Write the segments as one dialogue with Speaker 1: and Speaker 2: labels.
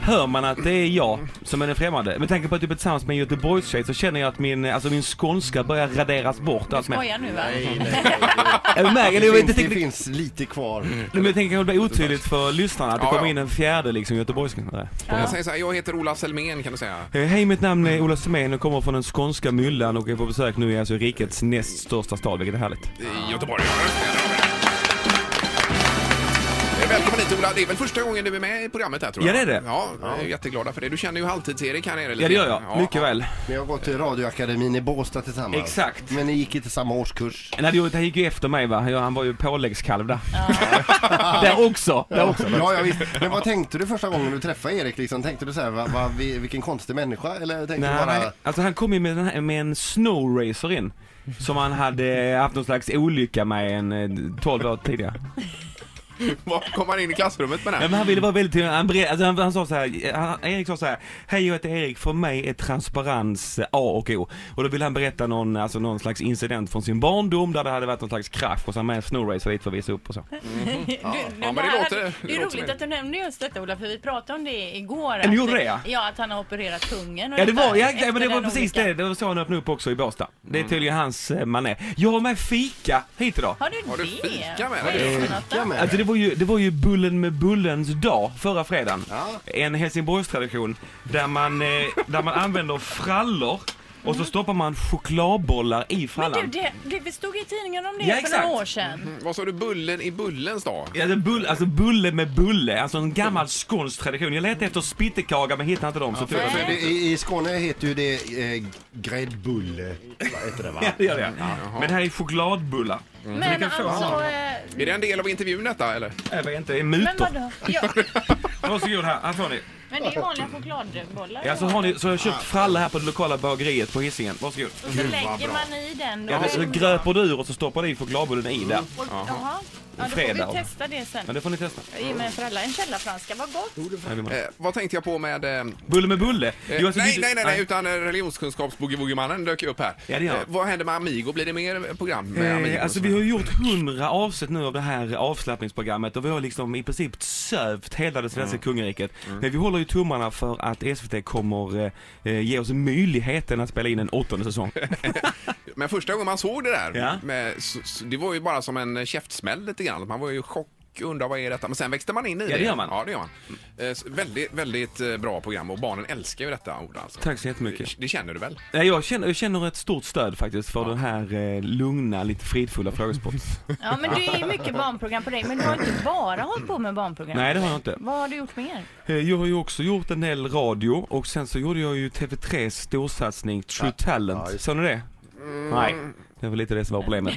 Speaker 1: Hör man att det är jag som är den främmande? Med tanke på att du är tillsammans med en göteborgstjej så känner jag att min, alltså min skånska börjar raderas bort allt mer.
Speaker 2: Skojar nu va?
Speaker 3: Nej, nej, nej.
Speaker 1: Är du med?
Speaker 3: Det,
Speaker 1: Eller jag vet
Speaker 3: finns,
Speaker 1: inte
Speaker 3: det
Speaker 1: riktigt-
Speaker 3: finns lite kvar.
Speaker 1: Nej, men jag tänker att det blir otydligt för lyssnarna att det
Speaker 4: Ja, ja.
Speaker 1: kommer in en fjärde liksom göteborgska.
Speaker 4: Jag säger så här, jag heter Ola Selmén kan du säga.
Speaker 1: Eh, Hej, mitt namn är Ola Semén och kommer från den skånska myllan och är på besök nu i alltså rikets näst största stad, vilket är härligt.
Speaker 4: I Göteborg. Eh, Välkommen hit Ola, det är väl första gången du är med i programmet här tror jag?
Speaker 1: Ja, det är det.
Speaker 4: Ja, vi är jätteglada för det. Du känner ju Halvtids-Erik här nere lite
Speaker 1: Ja, det gör
Speaker 4: grann.
Speaker 1: jag. Mycket väl.
Speaker 3: Ni har gått i radioakademin i Båstad tillsammans.
Speaker 1: Exakt.
Speaker 3: Men ni gick inte samma årskurs.
Speaker 1: Nej, det gjorde- han gick ju efter mig va. Ja, Han var ju påläggskalv där. där också. Där också.
Speaker 3: Ja, ja, visst. Men vad tänkte du första gången du träffade Erik? Liksom, tänkte du så här, va, va, vi- vilken konstig människa? Eller tänkte du
Speaker 1: Nej,
Speaker 3: bara...
Speaker 1: nej. Alltså han kom ju med, den här, med en snowracer in. Som han hade eh, haft någon slags olycka med en eh, 12 år tidigare.
Speaker 4: Vad kom han in i klassrummet med
Speaker 1: Nej,
Speaker 4: det?
Speaker 1: men han ville vara väldigt, han, bre- alltså, han, han sa så här, han, Erik sa så här, hej jag heter Erik, för mig är transparens eh, A och O. Och då ville han berätta någon, alltså, någon slags incident från sin barndom där det hade varit någon slags krasch och så han med en snowracer dit för att visa upp och så.
Speaker 2: Du, nu,
Speaker 4: men det
Speaker 2: här-
Speaker 4: låter- det
Speaker 2: det är
Speaker 4: låter
Speaker 2: roligt
Speaker 4: det.
Speaker 2: att du nämnde just detta Ola, för vi pratade om det igår.
Speaker 1: Ja, ni
Speaker 2: att-
Speaker 1: gjorde det, ja.
Speaker 2: Ja, att han har opererat pungen
Speaker 1: Ja det var,
Speaker 2: ungefär
Speaker 1: ja,
Speaker 2: efter
Speaker 1: men det var
Speaker 2: den
Speaker 1: precis
Speaker 2: olyckan.
Speaker 1: det, det var så han öppnade upp också i Båstad. Det är tydligen hans eh, mané. Jag har med fika hit idag.
Speaker 2: Har du
Speaker 4: Har du
Speaker 2: det?
Speaker 4: fika med
Speaker 2: Vad är
Speaker 4: dig?
Speaker 2: det för något då?
Speaker 3: Ja, men-
Speaker 1: Alltså det var ju, det var ju Bullen med Bullens dag förra fredagen.
Speaker 3: Ja.
Speaker 1: En Helsingborgstradition där man, eh, där man använder frallor och så stoppar man chokladbollar i
Speaker 2: Mm. Men
Speaker 1: frallan.
Speaker 2: du, det, det vi stod i tidningen om det
Speaker 1: Ja,
Speaker 2: för
Speaker 1: exakt. Mm,
Speaker 2: några år sedan.
Speaker 4: Vad sa du, bullen i bullens dag?
Speaker 1: Ja, det är bull, alltså bulle med bulle, alltså en gammal skånsk tradition. Jag letade efter spittekaga men hittade inte dem så typ- tog jag
Speaker 3: För
Speaker 1: dem.
Speaker 3: det, i, I Skåne heter ju det eh, gräddbulle. Vad heter det va?
Speaker 1: Ja, det gör det. Men det här är chokladbullar.
Speaker 2: Men
Speaker 1: mm. kan få
Speaker 2: alltså...
Speaker 1: honom.
Speaker 2: eh,
Speaker 4: Är det en del av intervjun detta eller? Eh,
Speaker 1: Jag vet inte, det är
Speaker 2: Men
Speaker 1: mutor.
Speaker 2: vadå? Ja,
Speaker 1: Varsågod här, här får ni.
Speaker 2: men det är vanliga chokladbollar.
Speaker 1: Ja, så, har ni så har jag köpt fralla här på det lokala bageriet på Hisingen. Varsågod.
Speaker 2: Och så lägger man i den.
Speaker 1: Ja, det, så gröper du ur och så stoppar du i chokladbullen i där.
Speaker 2: Och, jaha. Ja, då
Speaker 1: Fredag.
Speaker 2: får vi testa det
Speaker 1: Ja,
Speaker 2: sen.
Speaker 1: det får ni testa.
Speaker 2: Ge mig en fralla, en källarfranska, vad gott!
Speaker 4: Eh, vad tänkte jag på med... Eh,
Speaker 1: Bulle med bulle?
Speaker 4: Eh,
Speaker 1: Jo, alltså,
Speaker 4: nej,
Speaker 1: du-
Speaker 4: nej, nej, nej, utan eh, religionskunskaps-boogie-woogie-mannen dök ju upp här. Eh,
Speaker 1: Ja, det gör han.
Speaker 4: vad händer med Amigo? Blir det mer program med Amigo?
Speaker 1: Eh, alltså vi har ju gjort hundra avsnitt nu av det här avslappningsprogrammet och vi har liksom i princip sövt hela det svenska
Speaker 4: Mm.
Speaker 1: kungariket. Men vi håller ju tummarna för att SVT kommer eh, eh, ge oss möjligheten att spela in en åttonde säsong.
Speaker 4: Men första gången man såg det där,
Speaker 1: Ja.
Speaker 4: med, s- s- det var ju bara som en eh, käftsmäll lite grann. Man var ju i chock och undrade vad är detta? Men sen växte man in i det.
Speaker 1: det gör man.
Speaker 4: Ja, det gör man. Eh, s- väldigt, väldigt eh, bra program och barnen älskar ju detta ord alltså.
Speaker 1: Tack så jättemycket.
Speaker 4: Det känner du väl?
Speaker 1: Nej, jag, känner, jag känner ett stort stöd faktiskt för den här eh, lugna, lite fridfulla frågesporten.
Speaker 2: Ja, men det är mycket barnprogram på dig, men du har inte bara hållit på med barnprogram.
Speaker 1: Nej, det har jag inte.
Speaker 2: Vad har du gjort mer?
Speaker 1: Eh, Jag har ju också gjort en del radio och sen så gjorde jag ju TV3s storsatsning True Talent.
Speaker 3: Ja, just-
Speaker 1: Såg
Speaker 3: Mm.
Speaker 1: ni det? Nej. Det var lite det som var problemet.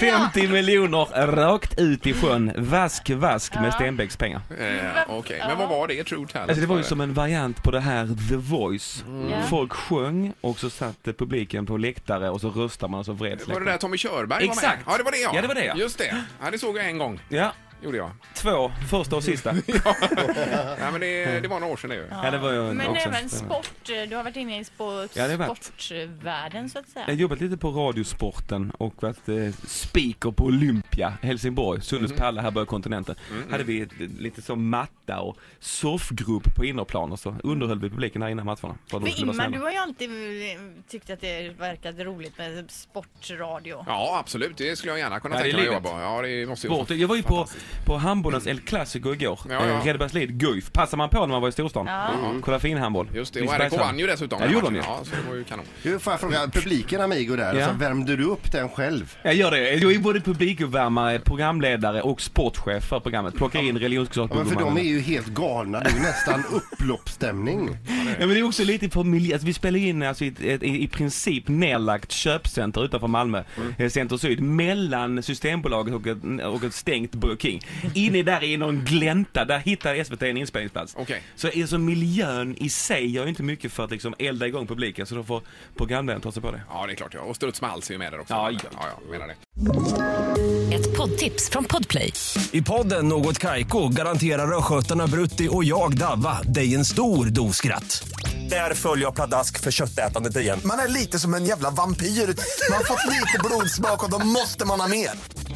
Speaker 1: 50 miljoner rakt ut i sjön. Vask, vask med Stenbecks pengar.
Speaker 4: Eh, Okej, men vad var det? True Talent?
Speaker 1: Alltså det var ju som en variant på det här The Voice.
Speaker 3: Mm.
Speaker 1: Folk sjöng och så satt eh, publiken på läktare och så röstade man och så vreds
Speaker 4: Var det där Tommy Körberg var med?
Speaker 1: Exakt.
Speaker 4: Ja, det var det ja.
Speaker 1: Ja, det var det, ja.
Speaker 4: Just det. Ja, det såg jag en gång.
Speaker 1: Ja,
Speaker 4: Gjorde jag.
Speaker 1: två, första och sista.
Speaker 4: Nej, men det, det var några år sedan det ju.
Speaker 1: Ja, det var ju
Speaker 2: Men
Speaker 1: också.
Speaker 2: även sport, eh, du har varit inne i sport,
Speaker 1: Ja, det har varit.
Speaker 2: sportvärlden så att säga.
Speaker 1: Jag har jobbat lite på radiosporten och varit eh, speaker på Olympia, Helsingborg, Sunnes
Speaker 4: Mhm.
Speaker 1: pärla här på kontinenten.
Speaker 4: Mm,
Speaker 1: Hade vi ett, eh, lite som matta och soffgrupp på innerplan och så underhöll vi publiken här innan matcherna. för att de
Speaker 2: För
Speaker 1: skulle vara
Speaker 2: Ingmar,
Speaker 1: snälla.
Speaker 2: du har ju alltid eh, tyckt att det verkade roligt med sportradio.
Speaker 4: Ja, absolut. Det skulle jag gärna kunna
Speaker 1: Ja, det är
Speaker 4: tänka mig att
Speaker 1: livet.
Speaker 4: jobba. Ja, det måste ju
Speaker 1: Bort. Jag var ju på, på handbollens El Clasico igår,
Speaker 4: Ja, ja.
Speaker 1: eh, Redbergslid, Guif. Passar man på när man var i storstan? Mm. Kolla fin handboll.
Speaker 4: Just det, och
Speaker 1: Lisebergshamn.
Speaker 4: RIK vann ju dessutom.
Speaker 1: Ja, det gjorde de ju.
Speaker 4: Ja, så det var ju kanon.
Speaker 3: Du, får jag fråga, publiken Amigo där,
Speaker 1: Ja.
Speaker 3: alltså, värmde du upp den själv?
Speaker 1: Jag gör det. Jag är både publikuppvärmare, programledare och sportchef för programmet. Plockar in religionskunskap
Speaker 3: Ja, men för de är ju helt galna, det är ju nästan upploppsstämning.
Speaker 1: Ja men det är också lite på miljö, alltså, vi spelar in alltså, i, ett- ett- i, i princip nedlagt köpcenter utanför Malmö, eh, Center Syd, mellan Systembolaget och ett, och ett stängt Burger King. någonting. Inne där i någon glänta, där hittar SVT en inspelningsplats.
Speaker 4: Okej.
Speaker 1: Så är så miljön i sig gör ju inte mycket för att liksom elda igång publiken, så då får programledaren ta sig på det.
Speaker 4: Ja, det är klart. Ja. Och Struts med hals är ju med där också.
Speaker 1: Ja, ja.
Speaker 4: ja, jag menar det.
Speaker 5: Ett poddtips från Podplay.
Speaker 6: I podden Något Kaiko garanterar östgötarna Brutti och jag, Davva, dig en stor dos skratt. Där följer jag pladask för köttätandet igen.
Speaker 7: Man är lite som en jävla vampyr. Man har fått lite blodsmak och då måste man ha mer.